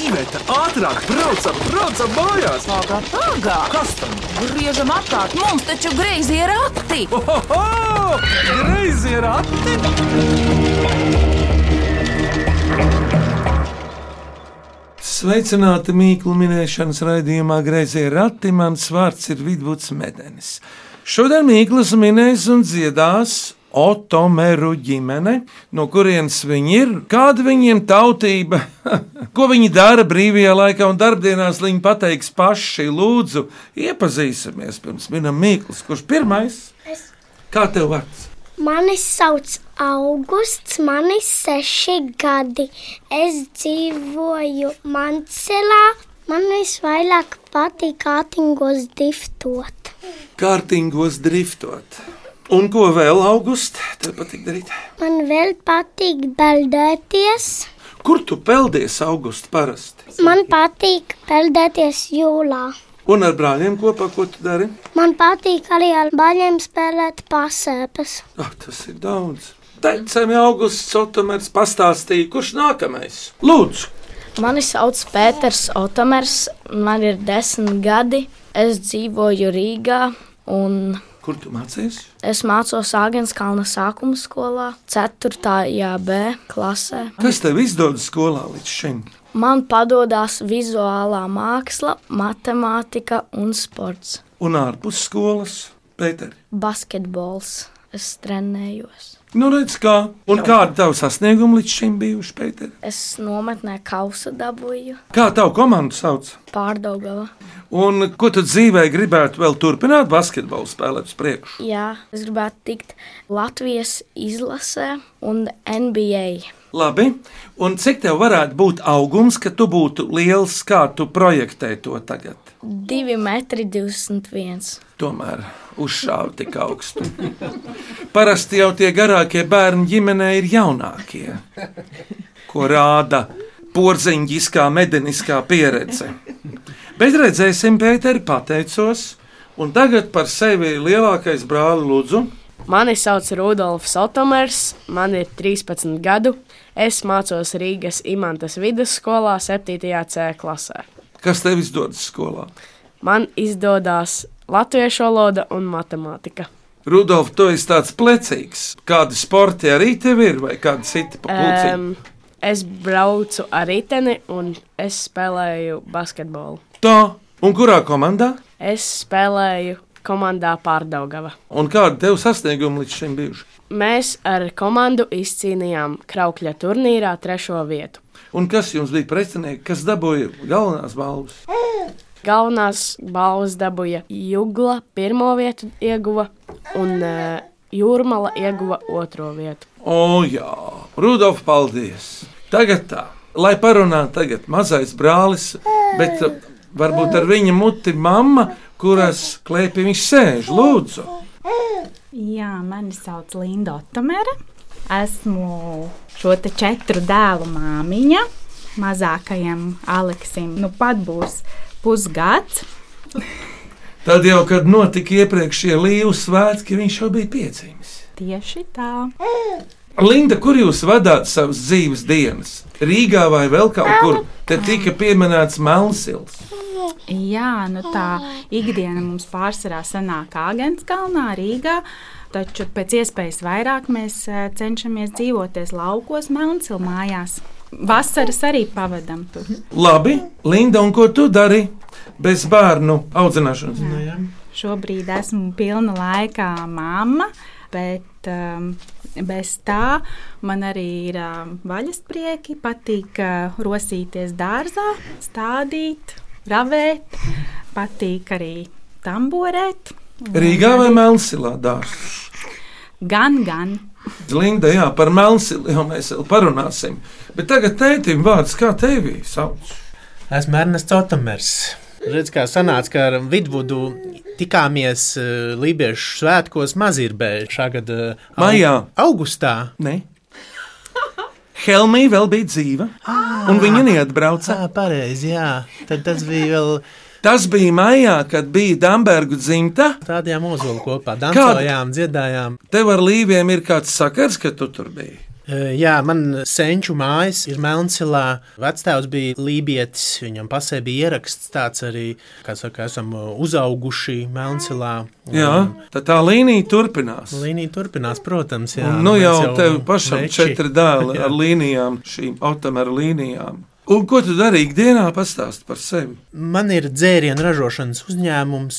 Iveta, ātrāk, braucam, braucam mājās! Pagā, pagā! Kas tam? Griežam atkārt, mums taču greizi ir akti! Ohoho! Greizi ir ati! Sveicināti mīklu minēšanas raidījumā Greizie rati. Mans vārds ir Vidvuds Medenis. Šodien mīklas minēs un dziedās Otomeru ģimene, no kurienes viņi ir, kāda viņiem tautība, ko viņi dara brīvajā laikā un darbdienās, viņi pateiks paši. Lūdzu, iepazīsimies pirms minam mīklas, kurš pirmais? Es. Kā tev vārds? Mani sauc Augusts, man ir seši gadi. Es dzīvoju Mancelā. Man visvairāk patīk kātingos diftot. Kārtīgos driftot. Un ko vēl augustā tev patīk darīt? Man vēl patīk peldēties. Kur tu peldies augustā parasti? Man patīk peldēties jūlā. Un ar brāļiem kopā, ko tu dari? Man patīk arī ar baļiem spēlēt pasēpes. Ah, tas ir daudz. Teicami, augusts Sotomērs pastāstīja, kurš nākamais. Lūdzu, Mani sauc Pēters Otamers, man ir desmit gadi. Es dzīvoju Rīgā un kur tu mācījies? es mācos Āgenskalna sākuma skolā, 4. B klasē. Kas tev izdodas skolā līdz šim? Man padodas vizuālā māksla, matemātika un sports. Un ārpus skolas, Pēter. Basketbols. Es trenējos. Nu, redz, kā. Un kāda tava sasnieguma līdz šim bijuši, Pēter? Es nometnē kausa dabūju Kā tavu komandu sauc? pārdaugava. Un ko tu dzīvē gribētu vēl turpināt basketbolu spēlēt uz priekšu? Jā, es gribētu tikt Latvijas izlasē un NBA. Labi, un cik tev varētu būt augums, ka tu būtu liels, kā tu projektē to tagad? 2,21 m. Tomēr uzšāva tik augstu. Parasti jau tie garākie bērni ģimenē ir jaunākie, ko rāda porziņģiskā medeniskā pieredze. Bet redzēsim, Pēteri, pateicos, un tagad par sevi ir lielākais brālis Lūdzu. Mani sauc Rudolfs Otomers, man ir 13 gadu. Es mācos Rīgas Imantas vidusskolā, 7. C klasē. Kas tev izdodas skolā? Man izdodas latviešu valoda un matemātika. Rudolf, tu esi tāds plecīgs. Kādi sporti arī tev ir, vai kādi citi papildinājumi? Em, es braucu ar riteni un es spēlēju basketbolu. Um. Tā, un kurā komandā? Es spēlēju komandā Pārdaugava. Un kādi tev sasniegumi līdz šim bijuši? Mēs ar komandu izcīnījām Kraukļa turnīrā trešo vietu. Un kas jums bija pretinieki, kas dabūja galvenās balvas? Galvenās balvas dabūja Jugla, pirmo vietu ieguva, un uh, Jūrmala ieguva otro vietu. O, jā, Rudolf, paldies! Tagad tā, lai parunātu, tagad mazais brālis, bet eh, varbūt ar viņa muti mamma, kuras klēpī viņš sēž. Lūdzu, Jā, mani sauc Linda Otomere. Esmu šo te četru dēlu māmiņa. Mazākajam Aleksim nu pat būs pusgads. tad jau, kad notika iepriekšējie līvu svētki, viņš jau bija piedzīvis. Tieši tā. Linda, kur jūs vadāt savas dzīves dienas? Rīgā vai vēl kaut kur? Te tika pieminēts Melnsils. Jā, nu tā ikdiena mums pārsvarā sanāk Agenskalnā, Rīgā. Taču pēc iespējas vairāk mēs eh, cenšamies dzīvoties laukos, Melncilmājās. Vasaras arī pavadam tur. Labi, Linda, un ko tu dari bez bērnu audzināšanas? Nē. Šobrīd esmu pilna laika mamma, bet um, bez tā man arī ir um, vaļasprieki. Patīk uh, rosīties dārzā, stādīt, ravēt, patīk arī tamborēt. Rīgā vai Melnsilā dārzā? Gan, gan. Linda, jā, par Melnsilu jau mēs vēl parunāsim. Bet tagad tētim vārds, kā tevi sauc? Esmu Ernsts Otamers. Redz, kā sanāca, ka ar Vidvudu tikāmies uh, Lībiešu svētkos Mazirbē šā gada uh, au- Maijā. Augustā. Nē. Helmija vēl bija dzīva, un viņa neatbrauca. Tā, pareizi, jā. Tad tas bija vēl Tas bija maijā, kad bija Dunkerga dzimta. tādajām ozolu kopā. Dancojām, dziedājām. Tev ar līviem ir kāds sakars, ka tu tur biji. Eh, Jā, man senču mājas ir Melncilā. Vectēvs bija lībietis, viņam pasē bija ieraksts tāds arī, kā saka, esam eh, uzauguši Melncilā. Jā, tad tā līnija turpinās. Līnija turpinās, protams, jā. Un, nu mēs jau tev pašam veči. četri dēli ar līnijām, šīm automēra līnijām. Un ko tu dari ikdienā? Pastāst par sevi. Man ir dzērienu ražošanas uzņēmums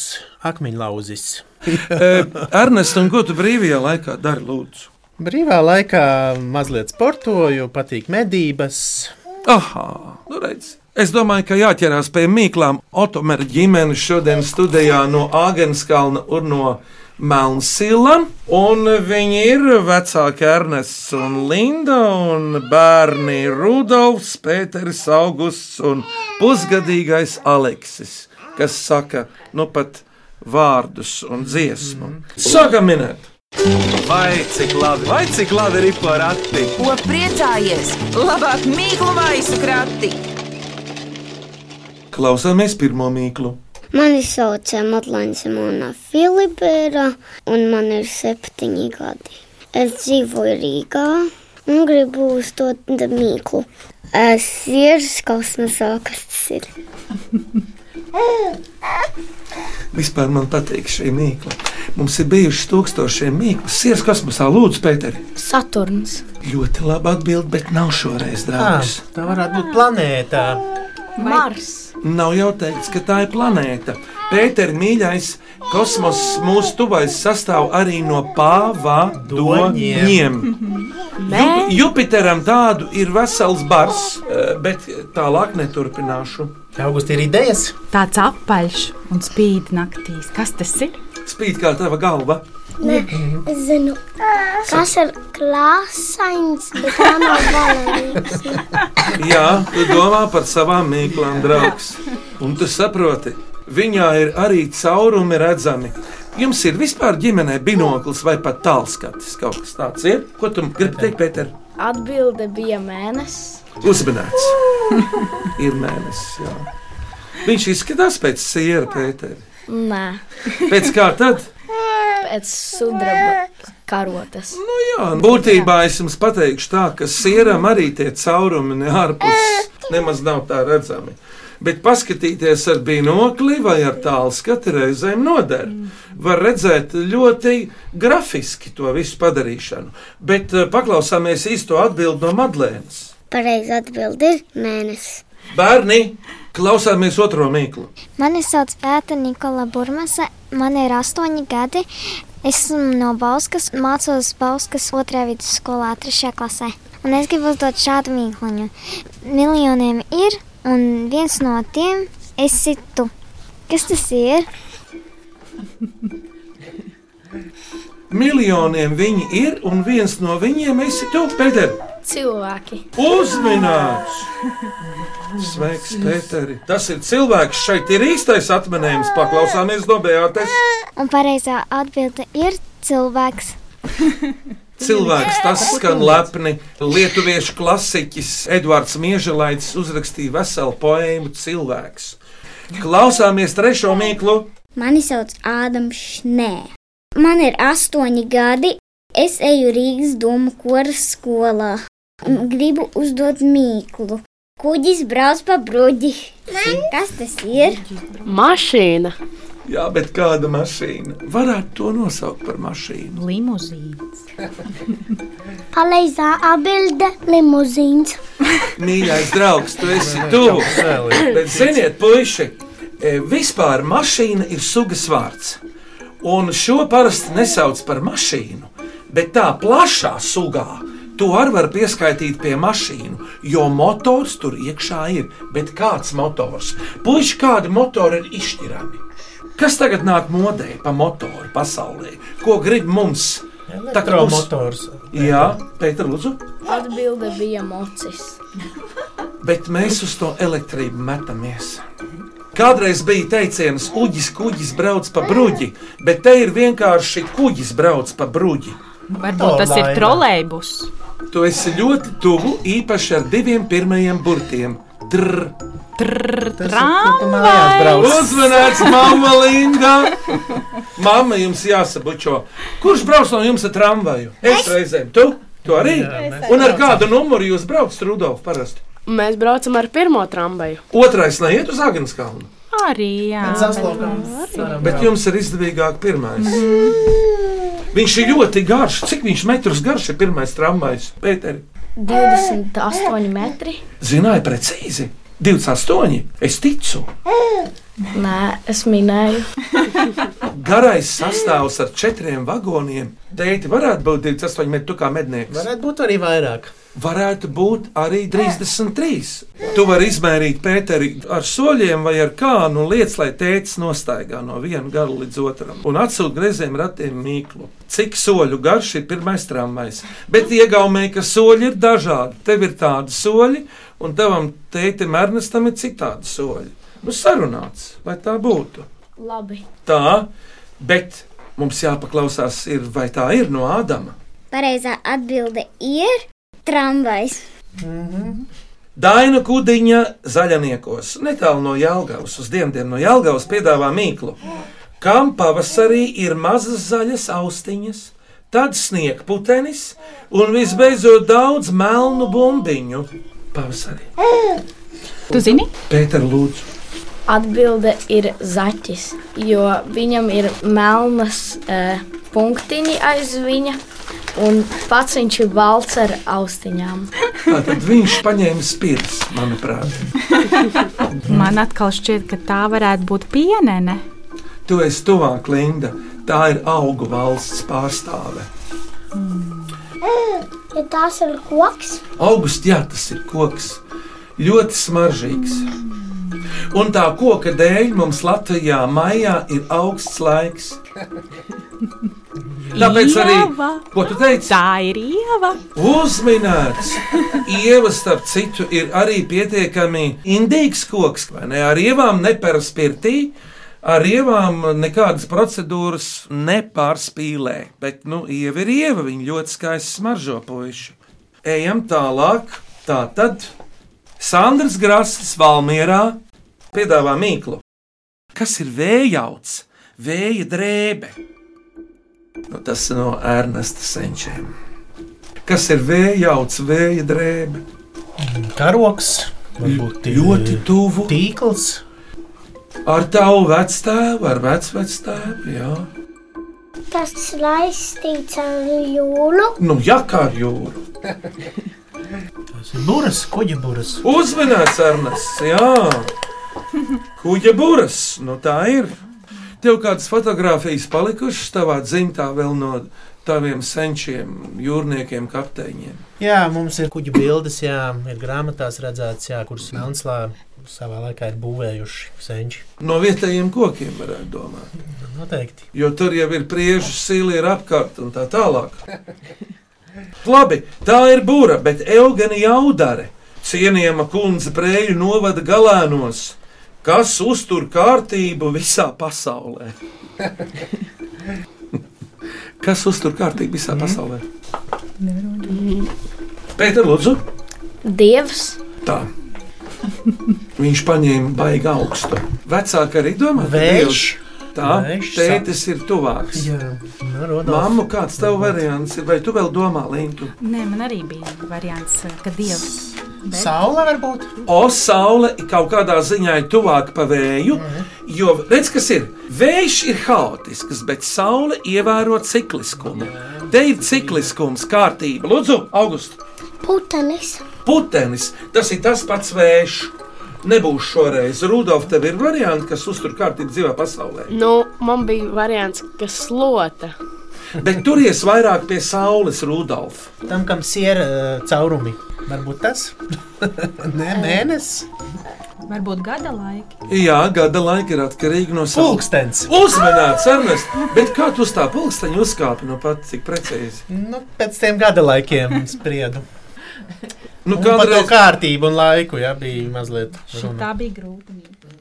Akmeņlauzis. E, Ernest, un ko tu brīvajā laikā dari, lūdzu? Brīvā laikā mazliet sportoju, patīk medības. Aha, nu redz. Es domāju, ka jāķerās pie mīklām. Otomēra ģimene šodien studijā no Āgenskalna un no Melnsila. Un viņi ir vecāki Ernests un Linda un bērni Rudolfs, Pēteris, Augusts un pusgadīgais Aleksis, kas saka, nu pat vārdus un dziesmu. Sākam minēt! Mhm. Vai cik labi, vai cik labi ir pa rati? Ko priecājies? Labāk mīklu maisu krati! Klausāmies pirmo mīklu. Mani sauc Madlina Simona Filipēra, un man ir septiņi gadi. Es dzīvoju Rīgā un gribu uzdot mīklu. Es siežu skausmas, kas tas ir. Vispār man patīk šī mīkla. Mums ir bijuši tūkstošiem mīklu. Sieras kosmosā, lūdzu, Pēter. Saturns. Ļoti labi atbild, bet nav šoreiz Tā, draugs. tā varētu būt planēta. Mars. Nav jau teikts, ka tā ir planēta. Pēter, mīļais, kosmoss mūsu tuvais sastāv arī no pavadoņiem. Ju- Jupiteram tādu ir vesels bars, eh, bet tālāk neturpināšu. Augustī ir idejas. Tāds apaļš un spīd naktīs. Kas tas ir? Spīd kā tava galva. Es zinu, kas ir krāsains, bet tā nav balēns. Jā, tu domā par savām mīklām, draugs. Un tu saproti, viņā ir arī caurumi redzami. Jums ir vispār ģimenē binoklis vai pat tālskatis kaut kas tāds. Ir? Ko tu gribi teikt, Pēter? Atbilde bija mēnesis. Uzmanīts. Ir mēnesis. Jā. Viņš izskatās pēc siera, Pēter. Nē, Pēc kā tad? pēc sudraba karotes. Nu Jā, būtībā es jums pateikšu, tā, ka sieram arī tie caurumi ne ārpus nemaz nav tā redzami. Bet paskatīties ar binokli vai ar tālu skatu reizēm noder. Var redzēt ļoti grafiski to visu padarīšanu. Bet eh, paklausāmies īsto atbildi no Madlēnas. Pareizi atbild ir mēnesis. Bērni, klausāmies otro mīklu. Mani sauc Pēta Nikola Burmese, man ir astoņi gadi. Esmu no Bauskas, mācos Bauskas otrajā vidusskolā, trešajā klasē. Un es gribu uzdot šādu mīkluņu. Miljoniem ir, un viens no tiem esi tu. Kas tas ir? Miljoniem viņi ir, un viens no viņiem esi tu, Pēter. Cilvēki. Uzmanīgs! Sveiks, Pēteri! Tas ir cilvēks, šeit ir īstais atminējums. Paklausāmies no Beatas. Un pareizā atbilde ir cilvēks. Cilvēks, tas skan lepni. Lietuviešu klasiķis Edvards Mieželaits uzrakstīja veselu poēmu Cilvēks. Klausāmies trešo mīklu. Mani sauc Ādams Šnē. Man ir astoņi gadi. Es eju Rīgas domu koras skolā un gribu uzdot mīklu. Kuģis brauc pa bruģi. Kas tas ir? Mašīna. Jā, bet kāda mašīna? Varētu to nosaukt par mašīnu. Limuzīna. Pareizā atbilde - limuzīns. Mīļais draugs, tu esi tuvu. Bet ziniet, puiši, e, vispār mašīna ir sugas vārds. Un šo parasti nesauc par mašīnu, bet tā plašā sugā. To arī var pieskaitīt pie mašīnu, jo motors tur iekšā ir. Bet kāds motors? Puiši, kādi motori ir izšķirami? Kas tagad nāk modē pa motoru pasaulē? Ko grib mums? Tā kā mums- Elektromotors. Jā, Pēter, lūdzu. Atbilde bija mocis. bet mēs uz to elektrību metamies. Kādreiz bija teiciens, ka uģis kuģis brauc pa bruģi, bet te ir vienkārši kuģis brauc pa bruģi. Varbūt tas ir Laime. trolejbus. Tu esi ļoti tuvu, īpaši ar diviem pirmajiem burtiem. Drr. Tramvajs. Uzmanīts, mamma Linda! Mamma jums jāsabučo. Kurš brauc no jums ar tramvaju? Es reizēm. Tu? Tu arī? Un ar kādu numuru jūs braucat, Rudolf? Parasti? Mēs braucam ar pirmo tramvaju. Otrais neiet uz Agnēs kalnu, Arī jā, Pēc saslaukām. bet jums ir izdevīgāk pirmais. Viņš ir ļoti garš. Cik viņš metrus garš ir pirmais tramvajs? Pēteri. 28 metri. Zināja precīzi. 28. Es ticu. Nē, es minēju. Garais sastāvs ar četriem vagoniem. Teikti, varētu būt 28 metri, tu kā mednieks. Varētu būt arī vairāk. Varētu būt arī 33. Tu vari izmērīt pēteri ar soļiem vai ar kānu un lietas, lai tēcis nostaigā no viena gala līdz otram un atsūta grieziem ratiem mīklu. Cik soļu garš ir pirmais tramvajs? Bet iegaumēji, ka soļi ir dažādi. Tev ir tādi soļi, un tavam tētim Ernestam ir citādi soļi. Nu, sarunāts, lai tā būtu. Labi. Tā, bet mums jāpaklausās, ir, vai tā ir no Ādama. Pareizā atbilde ir tramvajs. Daina Kudiņa zaļniekos, netālu no Jālgavas, uz dienvidiem no Jālgavas, piedāvā mīklu, kam pavasarī ir mazas zaļas austiņas, tad sniegputenis un visbeidzot daudz melnu bumbiņu. Pavasarī. tu zini? Pēter, lūdzu, Atbilde ir zaķis, jo viņam ir melnas e, punktiņi aiz viņa, un pats viņš ir balts ar austiņām. tad viņš paņēma spīdus, manuprāt. Man atkal šķiet, ka tā varētu būt pienene. Tu esi tuvāk, Linda. Tā ir augu valsts pārstāve. Ja tās ir koks, Augusts, jā, tas ir koks. Ļoti smaržīgs. Un tā koka dēļ mums Latvijā maijā ir augsts laiks. Tāpēc arī, Ieva. ko tu teici, Tā ir ieva. uzminēts. Ieva, starp citu, ir arī pietiekami indīgs koks. vai Ne? Ar ievām neparaspirtī, ar ievām nekādas procedūras nepārspīlē. Bet, nu, ieva ir ieva, viņa ļoti skaisti smaržo puiši. Ejam tālāk. Tā tad Sandrs Grāsis Valmierā piedāvā mīklu. Kas ir vējauts? Vēja drēbe. Nu, tas ir no Ernesta senčiem kas ir vējauts, vēja drēbe. Karoks, varbūt Ļoti tuvu tīkls. ar tavu vectēvu, ar vecvectēvu. Jā, tas laistīts ar jūlu. nu, jā kā ar jūru. Tas ir Buras, kuģa buras. Uzmanīts, Ernests, jā. Kuģa būras, nu tā ir. Tev kādas fotogrāfijas palikušas tavā dzimtā vēl no taviem senčiem, jūrniekiem, kapteiņiem. Jā, mums ir kuģa bildes, jā, ir grāmatās redzēts, jā, kuras Melnslā savā laikā ir būvējuši senči. No vietējiem kokiem varētu domāt. Noteikti. Jo tur jau ir priežu sīli, ir apkārt un tā tālāk. Labi, tā ir būra, bet Eugēna Jaudare, cienījama kundze prēļu novada galēnos, kas uztur kārtību visā pasaulē. kas uztur kārtību visā pasaulē? Pēter, lūdzu, Dievs, tā. Viņš paņēma baigi augstu. Vecāka arī domā, ka Vējš. Dievs- Tā, Vējš, tētis ir tuvāks. Jā, nu, Rodolf. Māmu, kāds tev variants ir? Vai tu vēl domā, Lintu? Nē, man arī bija variants, ka dievs. Bet- Saula varbūt. O, saule kaut kādā ziņā ir tuvāk pa vēju, jo redz, kas ir. Vējš ir haotisks, bet saule ievēro cikliskumu. Te ir cikliskums, kārtība. Lūdzu, august! Putenis. Putenis, tas ir tas pats vējš. Nebūs šoreiz. Rudolf, tev ir variants, kas uztur kārtību dzīvē pasaulē. Nu, man bija variants, ka slota. Bet turies vairāk pie saules, Rudolf. Tam, kam siera uh, caurumi. Varbūt tas? Nē, mēnesis. Varbūt gada laika. Jā, gada laika ir atkarīga no saules. Pulkstens. Uzmanīts, Ernest! Bet kā tu uz tā pulksteņa uzkāpi? Nu, pat cik precīzi. Nu, pēc tiem gada laikiem spriedu. Nu, Un par to kādreiz, kā... kārtību un laiku, jā, bija mazliet. Šī runa. tā bija grūta.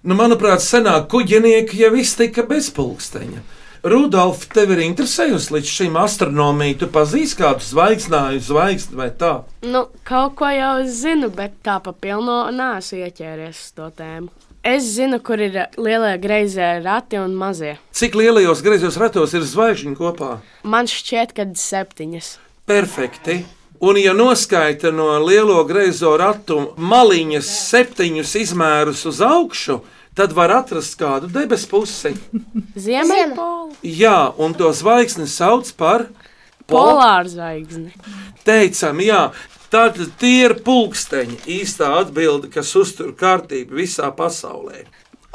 nu, manuprāt, senāk kuģinieki jau iztika bez pulksteņa. Rudolf, tev ir interesējusi līdz šim astronomija. Tu pazīsti kādu zvaigznāju, zvaigzni vai tā. Nu, kaut ko jau es zinu, bet tā pa pilno nesu ieķēries uz to tēmu. Es zinu, kur ir lielie greizie rati un mazie. Cik lielajos griezos ratos ir zvaigžņi kopā? Man šķiet, ka septiņas. Perfekti. Un, ja noskaita no lielo greizo ratu maliņas septiņus izmērus uz augšu, tad var atrast kādu debesu pusi. Ziemeļpola. Jā, un to zvaigzni sauc par Polārzvaigzne. Teicam, jā. Tātad tie ir pulksteņi, īstā atbilde, kas uztur kārtību visā pasaulē.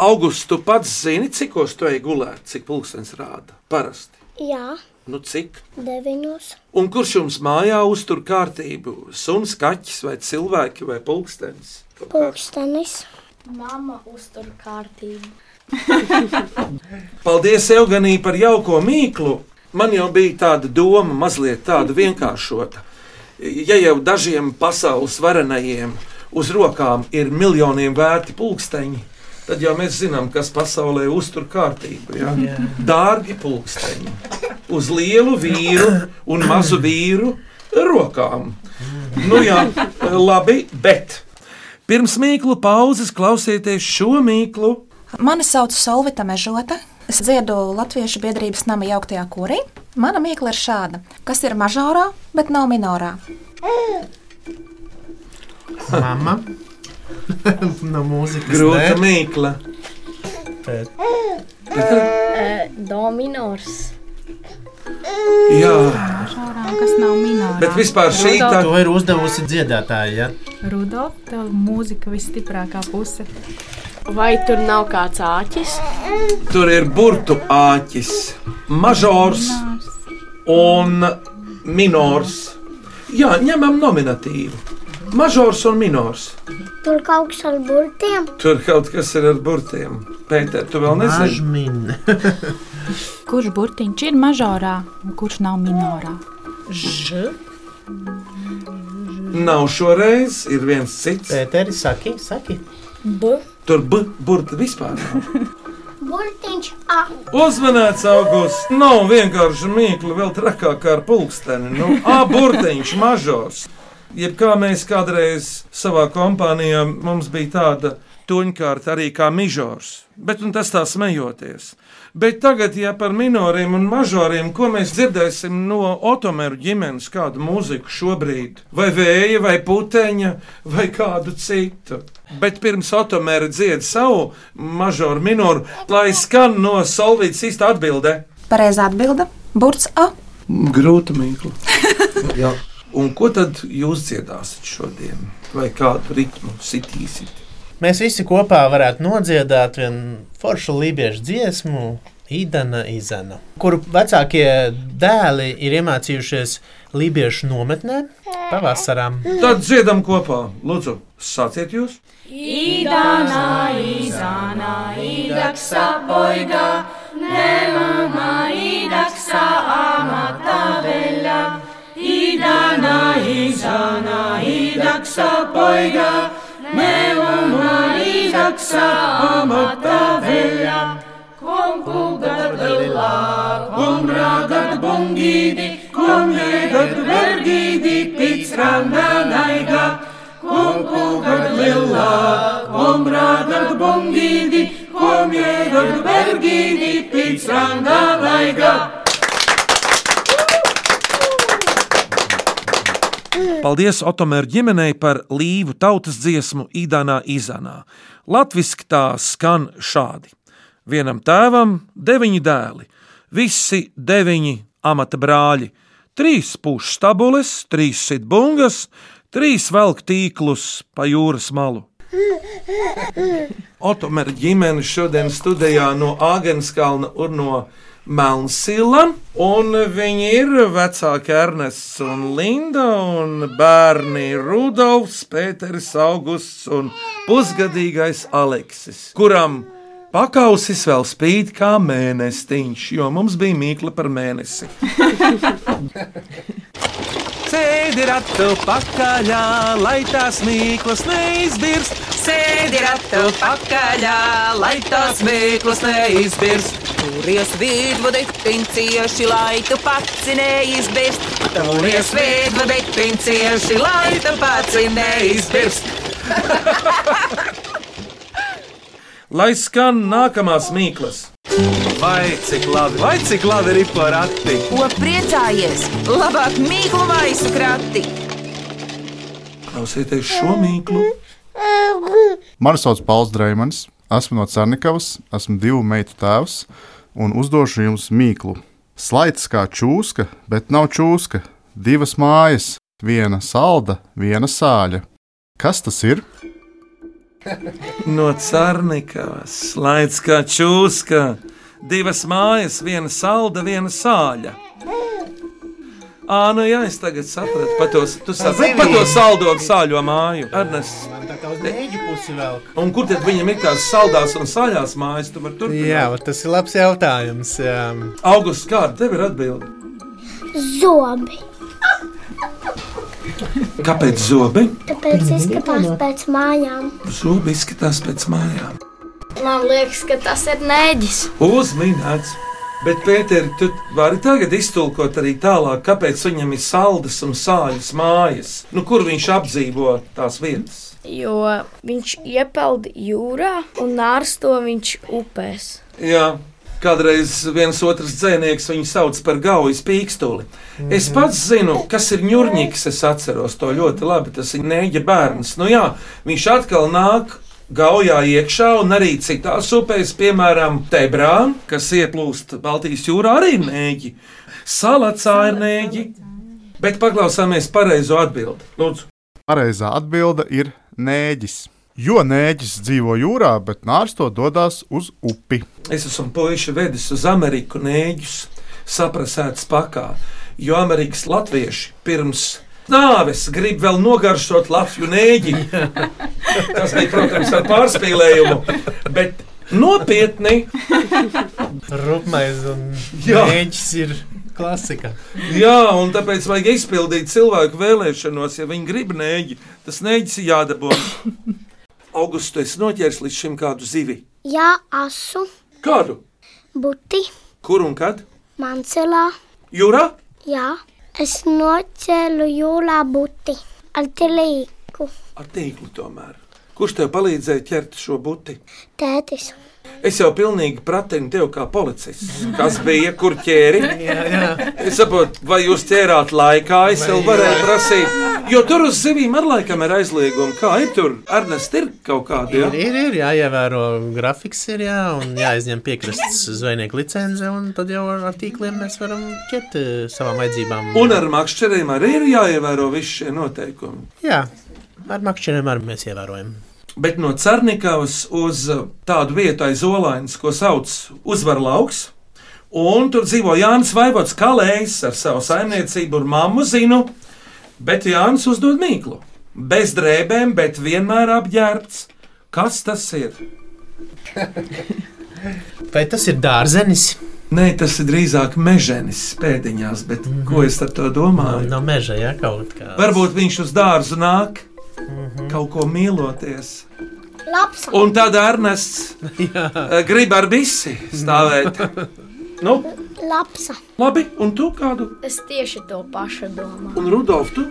Augusts, tu pats zini, cikos tu ej gulēt, cik pulkstenis rāda parasti. Jā, Nu, cik? deviņos. Un kurš jums mājā uztur kārtību? Suns, kaķis vai cilvēki vai pulkstenis? Kaut kā. Pūkstenis. Mama uztur kārtību. Paldies, Eugenī, par jauko mīklu. Man jau bija tāda doma, mazliet tāda vienkāršota. Ja jau dažiem pasaules varenajiem uz rokām ir miljoniem vērti pulksteņi, tad jau mēs zinām, kas pasaulē uztur kārtību. Ja? Dārgi pulksteņi uz lielu vīru un mazu vīru rokām. Nu, jā, labi, bet pirms mīklu pauzes klausieties šo mīklu. Mani sauc Solvita Mežota. Es dziedu Latviešu biedrības nama jauktajā kurī. Mana mīkla ir šāda, kas ir mažorā, bet nav minorā. Mama. no mūzikas. Grūta nē. mīkla. Bet Dominors. Jā, Šaurā, kas nav minēta. bet vispār šī tā To ir uzdevusi dziedātāja. Ja? Rudolf, tev mūzika visstiprākā puse. Vai tur nav kāds āķis? tur ir burtu āķis, mažors un minors. Jā, ņemam nominatīvu. Mažors un minors. Tur kaut kas ar burtiem. Tur kaut kas ir ar burtiem. Pēter, tu vēl nezini. Mažmin. Kurš burtiņš ir mažorā un kurš nav minorā? Nav šoreiz, ir viens cits. Pēteri, saki, saki. B. Tur b burti vispār nav. Burtiņš. Uzmanīts augusts. Nav vienkārši mīkla, vēl trakākā ar pulksteni. Nu, A burtiņš, mažors. Jebkā mēs kādreiz savā kompānijā mums bija tāda toņkārta arī kā mižors, bet un tas tā smejoties. Bet tagad, ja par minoriem un mažoriem, ko mēs dzirdēsim no Otomēra ģimenes, kādu mūziku šobrīd, vai vēja, vai puteņa, vai kādu citu. Bet pirms Otomēra dzied savu mažoru minoru, lai skan no Solvītas īsta atbilde. Pareizā atbilde - burts A. Grūti mīklu. Jā. Un ko tad jūs dziedāsiet šodien? Vai kādu ritmu sitīsiet? Mēs visi kopā varētu nodziedāt vienu foršu lībiešu dziesmu, Idana Izana, kuru vecākie dēli ir iemācījušies lībiešu nometnē pavasarām. Tad dziedam kopā. Lūdzu, sāciet jūs! Paldies Otomēra ģimenei par līvu tautas dziesmu Idanā Izanā. Latviski tā skan šādi. Vienam tēvam deviņi dēli, visi deviņi amata brāļi, trīs pušu stabules, trīs sitbungas, trīs velk tīklus pa jūras malu. Otomēra ģimene šodien studijā no Āgenskalna un no Melnsila. Un viņi ir vecāki Ernests un Linda, un bērni Rudolfs, Pēters, Augusts un pusgadīgais Aleksis, kuram pakausis vēl spīd kā mēnestiņš, jo mums bija mīkla par mēnesi. Sēdi ratu pakaļā, lai tās mīklas neizbirst. Sēdi ratu pakaļā, lai tās mīklas neizbirst. Turies vidvadīt pincieši, lai tu pats neizbirst. Turies vidvadīt pincieši, lai tu pats neizbirst. Lai skan nākamās mīklas! Vai cik labi, vai cik labi ir porati? Ko priecājies? Labāk mīklu maisu krati! Paklausieties šo mīklu. Mani sauc Pauls Dreimans, esmu no Cernikavas, esmu divu meitu tēvs un uzdošu jums mīklu. Slaids kā čūska, bet nav čūska. Divas mājas, viena salda, viena sāļa. Kas tas ir? No Cārnekavas slēdz kā čūska, divas mājas, viena salda, viena sāļa. Ā, nu jā, es tagad sapratu, pa to, tu saprati pa to saldo un sāļo māju. Ernests, Man tā kā uz mēģi pusi vēl. un kur tad viņam ir tās saldās un sāļās mājas, tu vari turpināt? Jā, vat tas ir labs jautājums. Jā. Augusts, kāda tev ir atbilde? Zobi. Kāpēc zobi? Tāpēc izskatās pēc mājām. Zobi izskatās pēc mājām. Man liekas, ka tas ir nēģis. Uzminēts! Bet, Pēter, tu vari tagad iztulkot arī tālāk, kāpēc viņam ir saldas un sāļas mājas, nu, kur viņš apdzīvo tās vietas. Jo viņš iepeld jūrā un nārsto viņš upēs. Jā. Kādreiz viens otrs dzinieks viņu sauc par gaujas pīkstuli. Es pats zinu, kas ir ņurņķis. Es atceros to ļoti labi. Tas ir neģa bērns. Nu jā, viņš atkal nāk gaujā iekšā un arī citās upēs, piemēram, Tebrā, kas ieplūst Baltijas jūrā, arī ir nēģi. Salacā ir nēģi. Bet paklausāmies pareizo atbildi. Lūdzu, Pareizā atbilde ir nēģis. Jo nēģis dzīvo jūrā, bet nārsto dodas uz upi. es esmu puiši vedis uz Ameriku nēģus, saprasēts pakā, jo Amerikas latvieši pirms nāves grib vēl nogaršot Latviju nēģi. Tas bija, protams, ar pārspīlējumu, bet nopietni Rupmais un Jā. mēģis ir klasika. Jā, un tāpēc vajag izpildīt cilvēku vēlēšanos. Ja viņi grib nēģi, tas nēģis ir jādabū. Augustu es noķēru līdz šim kādu zivi. Jā, asu, Kādu? buti, Kur un kad? mancelā. Jūrā? Jā, es noķēru jūlā buti ar tilīku. Ar tīklu tomēr. Kurš tev palīdzēja ķert šo buti? Tētis, Es jau pilnīgi pratinu tevi kā policists. Kas bija, kur ķēri? Jā, jā. Es saprotu, vai jūs ķērāt laikā, es vēl varēju prasīt. Jo tur uz zivīm ar laikam ir aizliegumi. Kā ir tur? Ernest, ir kaut kādi? Ir, jā? ir, ir jāievēro grafiks, ir jā, un jāizņem piekrastes zvejnieku licence, un tad jau ar ar tīkliem mēs varam ķert eh, savām vajadzībām. Un ar makšķeriem arī ir jāievēro visi šie noteikumi. Jā, ar makšķeriem arī mēs ievērojam. Bet no Cernikavas uz uh, tādu vietu aiz Olainas, ko sauc Uzvaru lauks. Un tur dzīvo Jānis Vaivots, kā lējs ar savu saimniecību, un mammu zinu. Bet Jānis uzdod mīklu. Bez drēbēm, bet vienmēr apģērbts. Kas tas ir? Vai tas ir dārzenis? Nē, tas ir drīzāk meženis pēdiņās, bet mm -hmm. ko es ar to No, domāju? no meža, jā, kaut kā. Varbūt viņš uz dārzu nāk kaut ko mīloties. labs, Un tad Ernests eh, grib ar visi stāvēt. Nu, labs, labi, un tu kādu? Es tieši to pašu domāju. Un Rudolf, tu?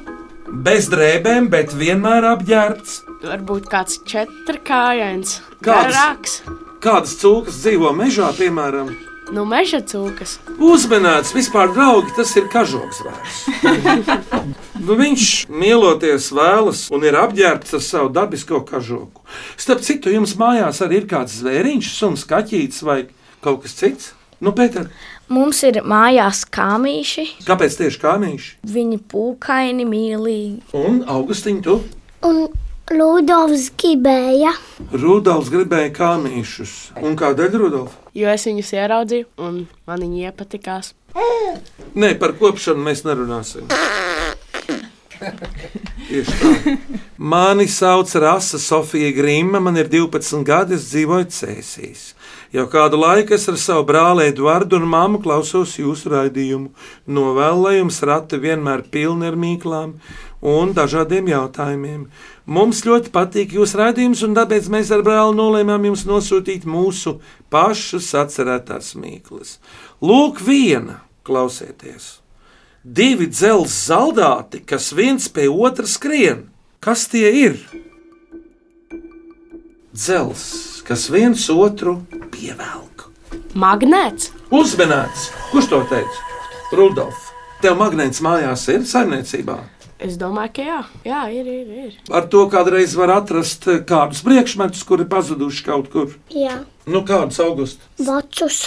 Bez drēbēm, bet vienmēr apģērbts. Varbūt kāds četrkājains, Kāds? garāks, Kādas cūkas dzīvo mežā, piemēram? no meža cūkas. Uzmanīts, vispār draugi, tas ir kažoks vērts. Nu, viņš mīloties vēlas un ir apģērbts ar savu dabisko kažoku. Starp citu, jums mājās arī ir kāds zvēriņš, suns, kaķītis vai kaut kas cits. Nu, Pēter, Mums ir mājās kāmīši. kāpēc tieši kāmīši? Viņi pūkaini, mīlīgi. Un Augustīnu tu? un Ludovs gribēja. Rudolfs gribēja kāmīšus. Un kādēļ Rudolf? Jo es viņus ieraudzīju, un man viņi iepatikās. Nē, par kopšanu mēs nerunāsim. Tieši tā. Mani sauc Rasa Sofija Grīma, man ir 12 gadi, es dzīvoju Cēsīs. Jau kādu laiku es ar savu brāli Eduardu un māmu klausos jūsu raidījumu. Novēlu, lai jums rati vienmēr pilni ar mīklām un dažādiem jautājumiem. Mums ļoti patīk jūsu raidījums, un tāpēc mēs ar brāli nolēmām jums nosūtīt mūsu pašu sacerētās mīklas. Lūk, viena klausieties! Divi dzelzceļa zaldāti, kas viens pie otra skrien. Kas tie ir? Dzelzs, kas viens otru pievelk. Magnēts, Uzmanīts! Kurš to teica? Rudolf, tev magnēts mājās ir saimniecībā. Es domāju, ka jā, jā ir, ir, ir. Ar to kādreiz var atrast eh, kādus priekšmetus, kuri pazuduši kaut kur. Jā, Nu, kādus augustus? bocus,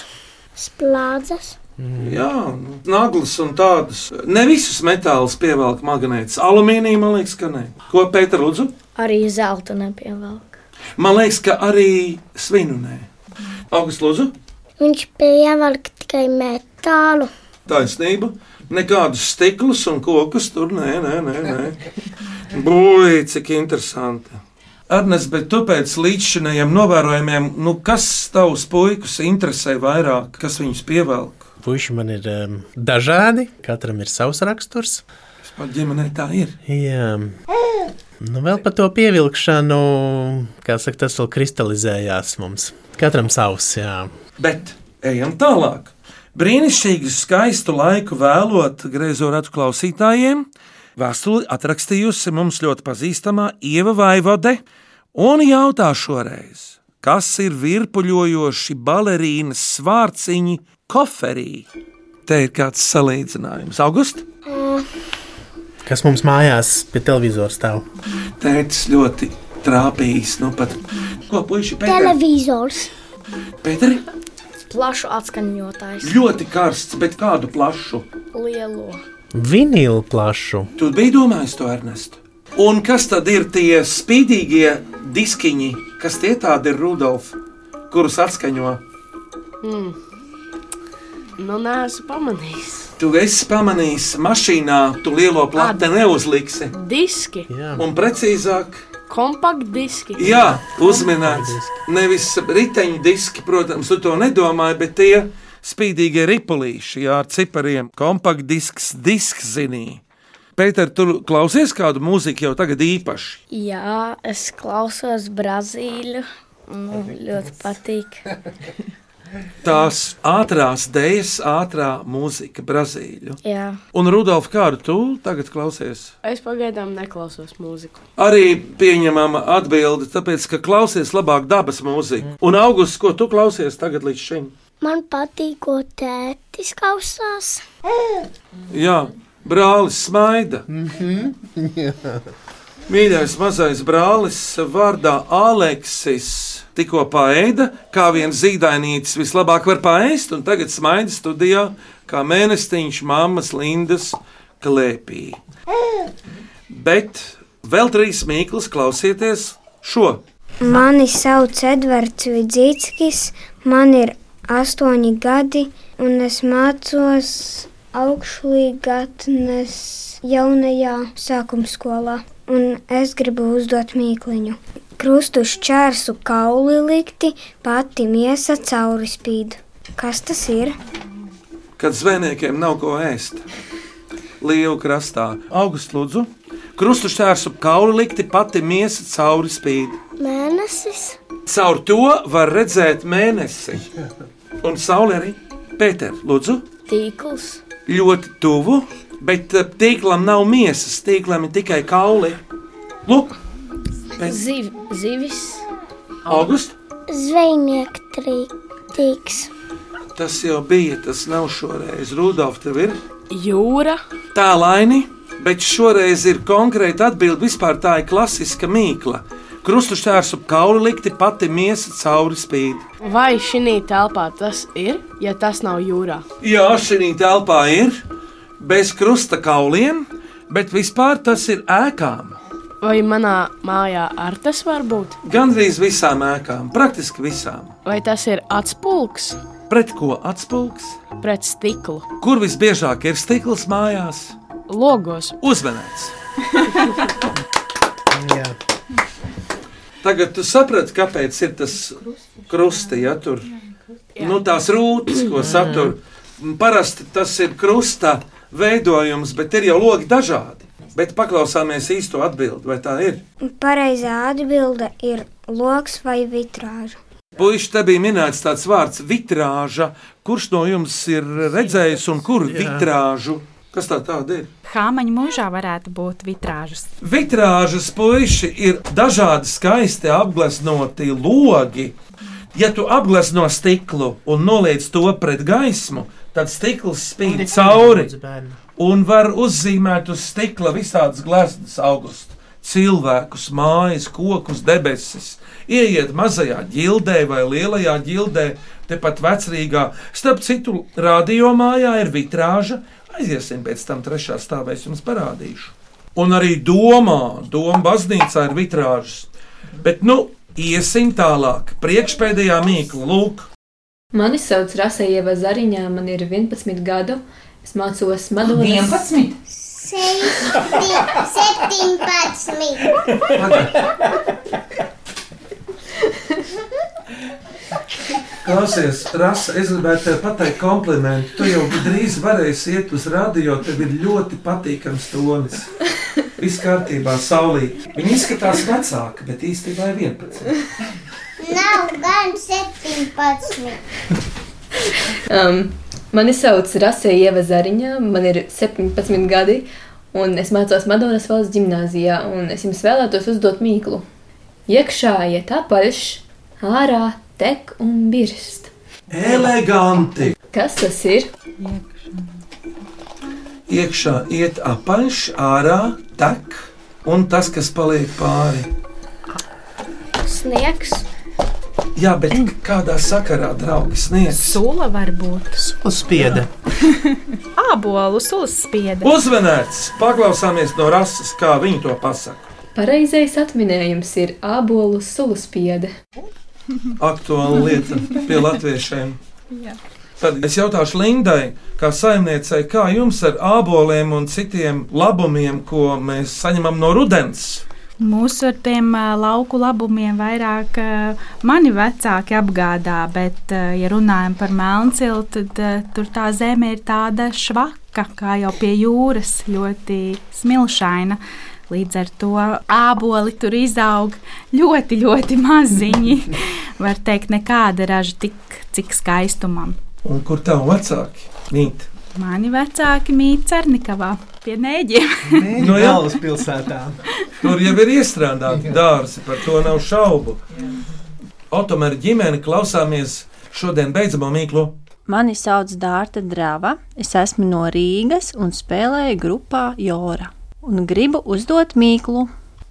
splādzes. Jā, nu, naglas un tādas. Ne visus metālus pievelk magnēts. Alumīnija, man liekas, ka nē. Ko Pēter lūdzu? Arī zelta nepievelk. Man liekas, ka arī svinu nē. August lūdzu, Viņš pievelk tikai metālu. taisnība. Nekādus stiklus un kokus tur nē, nē, nē. nē. Būj, cik interesanti. Ernest, bet tu pēc līdzšinējiem novērojumiem, nu kas tavus puikus interesē vairāk, kas viņus pievelk? Puisi man ir um, dažādi, katram ir savs raksturs. Pat ģimenē tā ir. Jā. Nu, vēl par to pievilkšanu, kā saka, tas vēl kristalizējās mums. Katram savs, jā. Bet ejam tālāk. Brīnišķīgi skaistu laiku vēlot griezo ratu klausītājiem, vēstuli atrakstījusi mums ļoti pazīstamā Ieva Vaivode un jautā šoreiz, kas ir virpuļojoši balerīnas svārciņi koferī? Te ir kāds salīdzinājums. August? Kas mums mājās pie televizora stāv? Tētis ļoti trāpījis, nu pat. Ko puiši pēteri? Televizors. Pēteri? Plašu atskaņotājs. Ļoti karsts, bet kādu plašu? Lielo. Vinīlu plašu. Tu biji domājis to, Ernest. Un kas tad ir tie spīdīgie diskiņi, kas tie tādi ir Rudolf, kurus atskaņo? Mm. Nu, neesmu pamanījis. Tu esi pamanījis mašīnā, tu lielo plati neuzliksi. Diski. Un precīzāk, Kompakt diski. jā, uzminēts. Nevis riteņdiski, protams, tu to nedomāji, bet tie spīdīgie ripulīši jā, ar cipariem, kompaktdisks, disks zinī. Pēter, tu klausies kādu mūziku jau tagad īpaši? Jā, es klausos Brazīļu. Nu, ļoti patīk. Tās ātrās dēļas, ātrā mūzika, Brazīļu. Jā. Un Rudolf, kā ar tu tagad klausies? Es pagaidām neklausos mūziku. Arī pieņemama atbilde, tāpēc, ka klausies labāk dabas mūziku. Un augusts, ko tu klausies tagad līdz šim? Man patīk, ko tētis klausās. Jā, brālis smaida. Mīļais mazais brālis vārdā Aleksis tikko paēda, kā viens zīdainītis vislabāk var paēst, un tagad smaida studijā kā mēnestiņš mammas Lindas klēpī. Bet vēl trīs mīklas klausieties šo. Mani sauc Edvards Vidzīckis, man ir astoņi gadi, un es mācos augšlīgatnes jaunajā sākumskolā. Un es gribu uzdot mīkliņu. Krustu šķērsu kauli likti, pati miesa cauri spīd. Kas tas ir? kad zvejniekiem nav ko ēst. Lietu krastā, augustā lūdzu, krustu šķērsu kauli likti pati miesa cauri spīd. Mēnesis, Caur to var redzēt mēnesi. Un saule arī Pēter, lūdzu, Tīkls. ļoti tuvu, bet eh, tīklam nav miesas, tīklam ir tikai kauli. Lūk, Pēc- Ziv, zivis. augustā. zvejnieks, trīks. Tas jau bija, tas nav šoreiz. Rudolf, tev ir jūra. Tā laini, bet šoreiz ir konkrēta atbilde. Vispār tā ir klasiska mīkla. Krustušķērs ap kauli likti pati miesa cauri spīd. Vai šī telpā tas ir, ja tas nav jūrā? Jā, šī telpā ir bez krusta kauliem, bet vispār tas ir ēkām. Vai manā mājā ar tas var būt? Gandrīz visām ēkām, praktiski visām. Vai tas ir atspūgs Pret ko atspūgs? pret stiklu? Kur visbiežāk ir stikls mājās? Logos. Uzmanīts! Tagad tu saprati, kāpēc ir tas krusti, ja tur nu, tās rūtas, ko satur. Parasti tas ir krusta veidojums, bet ir jau logi dažādi. Bet paklausāmies īsto atbildi, vai tā ir. Pareizā atbilde ir loks vai vitrāža. Puiši, te bija minēts tāds vārds - vitrāža. Kurš no jums ir redzējis un kur vitrāžu? Kas tā tāda ir? Hāmaņa mūžā varētu būt vitrāžas. Vitrāžas puiši ir dažādi skaisti apgleznoti logi. Ja tu apglezno stiklu un noliec to pret gaismu, tad stikls spīd cauri. un var uzzīmēt uz stikla visādas gleznas augustu. Cilvēkus, mājas, kokus, debesis. Iet mazajā ģildē vai lielajā ģildē, tepat vecrīgā. Starp citu, radiomājā ir vitrāža. Aiziesim pēc tam trešā stāvā, es jums parādīšu. Un arī domā, doma baznīcā ir vitrāžas. Bet, nu, iesim tālāk. Priekšpēdējā mīkla, lūk, Mani sauc Rasējieva Zariņā, man ir 11 gadu. Es mācos Madonas. 11? 17. Klausies, Rasa, es gribētu te pateikt komplimentu. Tu jau drīz varēsi iet uz radio, tev ir ļoti patīkams tonis. Viss kārtībā, saulīt. Viņa izskatās vecāka, bet īstenībā ir 11. Nav gan 17. Um, mani sauc Rasējieva Zariņā, man ir 17 gadi, un es mācos Madonas valsts gimnāzijā, un es jums vēlētos uzdot mīklu. Iekšā iet apaļš, ārā tek un birst. Eleganti! Kas tas ir? Iekšā iet apaļš, ārā tek, un tas, kas paliek pāri. Sniegs. Jā, bet kādā sakarā, draugi, sniedz? Sula var būt. Uzspieda. Ābolu sulas spieda. Uzmanēts! Paklausāmies no rases, kā viņi to pasaka. Pareizais atminējums ir ābolu suluspiede. Aktuāla lieta pie latviešiem. Jā. Tad es jautāšu Lindai, kā saimniecei, kā jums ar āboliem un citiem labumiem, ko mēs saņemam no rudens? Mūsu ar tiem ā, lauku labumiem vairāk ā, mani vecāki apgādā, bet, ā, ja runājam par Melncilu, tad ā, tur tā zeme ir tāda švaka, kā jau pie jūras, ļoti smilšaina. Līdz ar to āboli tur izaug ļoti, ļoti maziņi. Var teikt, nekāda raža tik, cik skaistumam. Un kur tev vecāki? Nīt. Mani vecāki mīt Cernikavā pie nēģiem. No Jālas pilsētā. Nu, Tur jau ir iestrādāti dārzi, par to nav šaubu. Otomēr ģimene klausāmies šodien beidzamo mīklu. Mani sauc Dārta Drava, es esmu no Rīgas un spēlēju grupā Jora. Un gribu uzdot mīklu.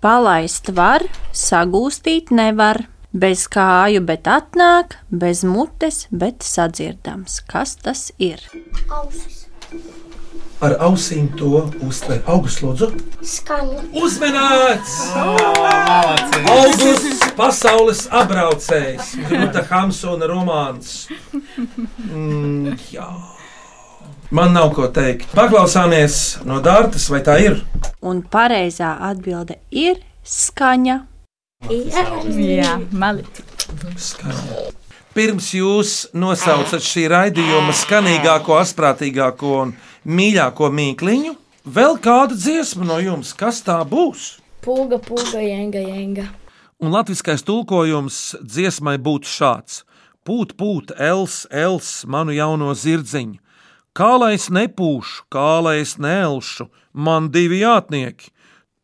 Palaist var, sagūstīt nevar. Bez kāju, bet atnāk, bez mutes, bet sadzirdams. Kas tas ir? Ausis. Ar ausīm to uztver augstlodzu. Skaņa. Uzmanīts! Augusts pasaules apbraucējs, Gruta Hamsona romāns. Mm, jā. Man nav ko teikt. Paklausāmies no Dārtas, vai tā ir? Un pareizā atbilde ir skaņa. Jā, malici. Pirms jūs nosaucat šī raidījuma skanīgāko, asprātīgāko un mīļāko mīkliņu, vēl kādu dziesmu no jums, kas tā būs? Pūga, pūga, jēga, jēga. Un latviskais tulkojums dziesmai būtu šāds: Pūt, pūt, els, els, manu jauno zirdziņu. Kā lai es nepūšu, kā lai es neelšu, man divi jātnieki.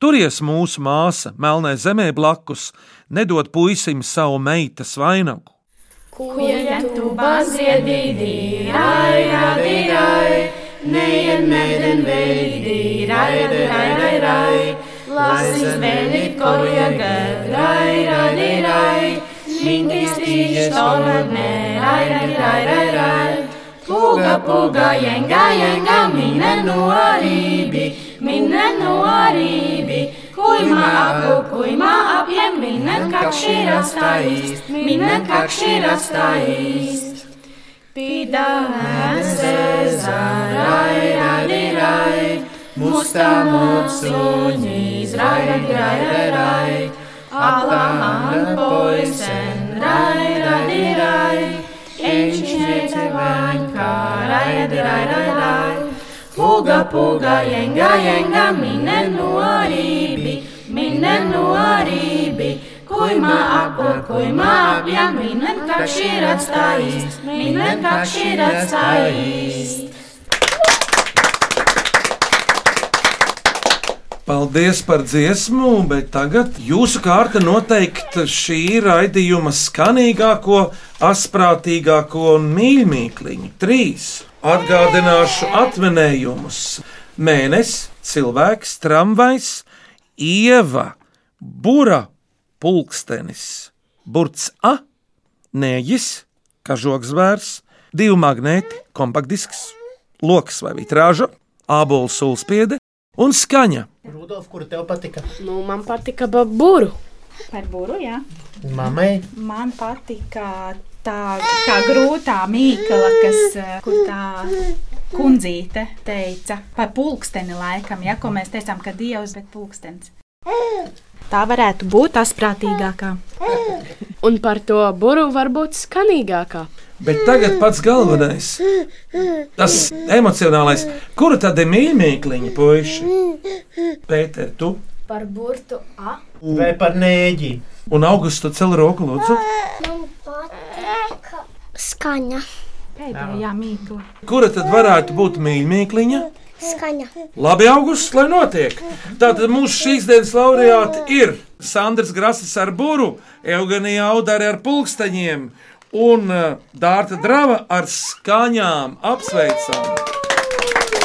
Turies mūsu māsa, melnē zemē blakus, nedod puisim savu meitas vainagu. Kujentu bazriedi diraj, radi raj, nejen meden vejdi raj, radi raj, raj, raj. Lasi zveni korja gad, raj, radi raj, linki stiž toradne, raj, radi raj, raj, raj. Puga, puga, jenga, jenga, mine nu aribi, mine nu aribi. Kujma apu, kujma apje, mine kakšira stajist, mine kakšira stajist. Pida se zaraj, radi raj, musta mutsunji, zraj, radi raj, raj, raj. Aplahan poisen, raj, radi raj, enčnete vanjka, raj, radi raj, raj, raj. Puga, puga, jenga, jenga, mine nuaribi, mine nuaribi. Kujma ako, kujma apja, minen kak širat stajist, minen kak širat stajist. Paldies par dziesmu, bet tagad jūsu kārta noteikt šī raidījuma skanīgāko, asprātīgāko un mīļāko mīkliņu. Trīs. Atgādināšu atminējumus. Mēnesis, cilvēks, tramvajs, ieva, bura, pulkstenis, burts A, nēģis, kažokzvērs, divi magnēti, kompaktdisks, loks vai vitrāža, ābols sulspiede un skaņa. Rudolf, kur tev patika? Nu, man patika par būru. Par būru, jā. Mamai Man patika tā, tā grūtā mīkla, kas, eh, kur tā kundzīte teica par pulksteni laikam, ja ko mēs teicām, ka dievs, bet pulkstenis. Tā varētu būt tas prātīgākā. Un par to buru varbūt skanīgākā. Bet tagad pats galvenais, tas emocionālais, kura tad ir mīmīkliņa puiši? Pēter, tu Par burtu A. vai par nēģi? un augustu cel roku lūdzu. Man patīk skaņa. Pēdējā mīkla. Kura tad varētu būt mīmīkliņa? Skaņa. Labi, augusts, lai notiek. Tātad mūsu šīs dienas laureāti ir Sandrs Grasis ar buru, Eugenija Audara ar pulksteņiem un eh, Dārta Drava ar skaņām. Apsveicam!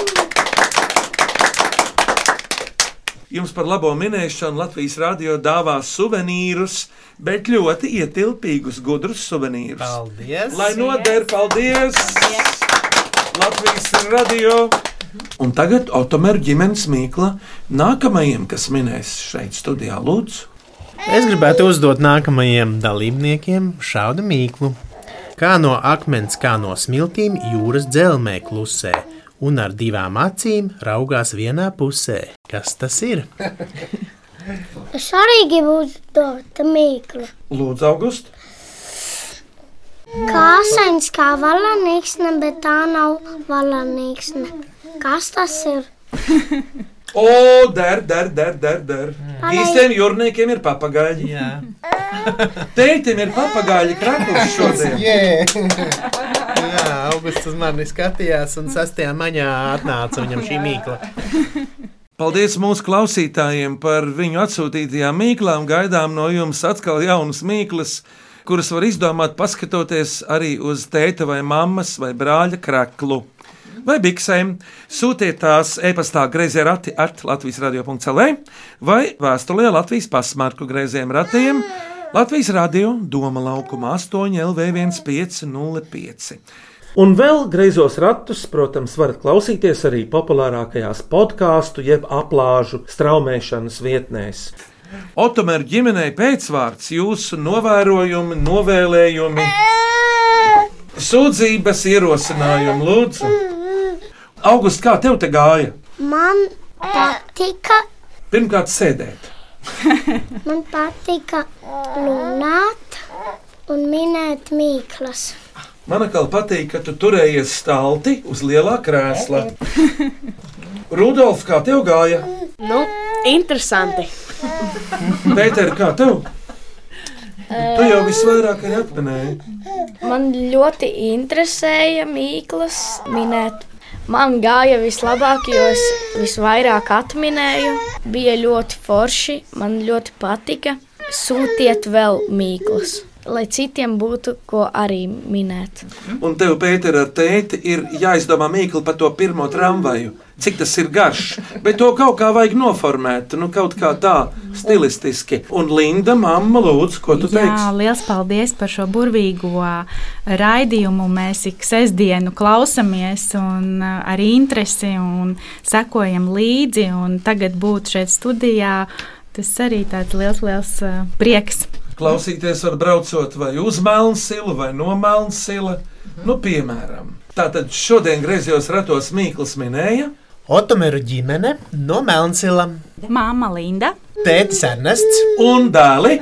Jums par labo minēšanu Latvijas radio dāvā suvenīrus, bet ļoti ietilpīgus, gudrus suvenīrus. Paldies! Lai noder, paldies! Latvijas radio! Un tagad Otomēra ģimenes mīkla nākamajam, kas minēs šeit studijā, lūdzu. Es gribētu uzdot nākamajiem dalībniekiem šādu mīklu. Kā no akmens, kā no smiltīm jūras dzelzmē klusē, un ar divām acīm raugās vienā pusē. Kas tas ir? Es arī gribu uzdot mīklu. Lūdzu, august. Kā sens, kā valanīksne, bet tā nav valanīksne. Kas tas ir? O, der, der, der, der. der. Palai- Īstiem jūrniekiem ir papagaļi. Jā. Teitim ir papagaļi krāklis šodien. Jā. Jā, augusts uz mani skatījās, un 6. maijā atnāca viņam šī mīkla. Paldies mūsu klausītājiem par viņu atsūtītajām mīklām. Gaidām no jums atkal jaunas mīklas, kuras var izdomāt, paskatoties arī uz tēta vai mammas vai brāļa kraklu. Vai biksēm sūtiet tās e-pastā grazē rati at Latvijas radio.cl vai vēstulē Latvijas pasmarku grazējiem ratiem Latvijas radio Doma laukumā 8 LV1505. Un vēl greizos ratus, protams, varat klausīties arī populārākajās podkāstu jeb aplāžu straumēšanas vietnēs. Otomēra ģimenei pēcvārds jūsu novērojumi, novēlējumi, sūdzības, ierosinājumi, lūdzu. August, kā tev te gāja? Man patika, Pirmkārt, sēdēt. man patika runāt un minēt mīklas. Man atkal patīk, ka tu turējies stalti uz lielā krēsla. Rudolf, kā tev gāja? Nu, interesanti. Pēter, kā tev? Tu jau visvairāk arī atminēji. Man ļoti interesēja mīklas minēt. Man gāja vislabāk, jo es visvairāk atminēju. Bija ļoti forši, man ļoti patika. Sūtiet vēl mīklas, lai citiem būtu ko arī minēt. Un tev, Pēter, ar tēti ir jāizdomā mīkli par to pirmo tramvaju. Cik tas ir garš, bet to kaut kā vajag noformēt, nu kaut kā tā, stilistiski. Un Linda, mamma, lūdzu, ko tu Jā, teiksi? liels paldies par šo burvīgo raidījumu. Mēs ik sestdienu klausāmies un ā, ar interesi un sekojam līdzi. Un tagad būt šeit studijā, tas arī tāds liels, liels ā, prieks. Klausīties var braucot vai uz Melnsilu vai no Melnsila, nu piemēram. Tātad šodien griezījos ratos Mīkls minēja. Otomēru ģimene no Melncila. Māma Linda. Tētis Ernests un dēli.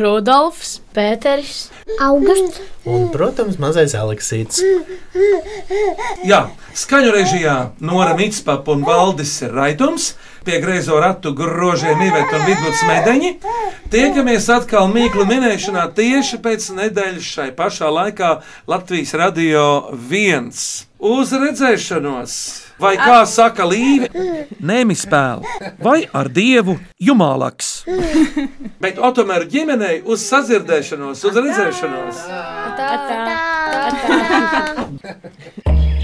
Rudolfs, Pēteris, Augusts. Un, protams, mazais Aleksīts. Jā, skaņu režijā Nora Mitspapa un Valdis Raitums, pie griezo ratu grožiem Iveta un Vidvuds Medeņi. Tiekamies atkal mīklu minēšanā tieši pēc nedēļas šai pašā laikā Latvijas radio 1. Uz redzēšanos! Vai kā saka Līve? Nemi spēle, vai ar dievu jumālaks. Bet Otomēra ģimenei uz sadzirdēšanos, uz redzēšanos! Tā, tā, tā, tā.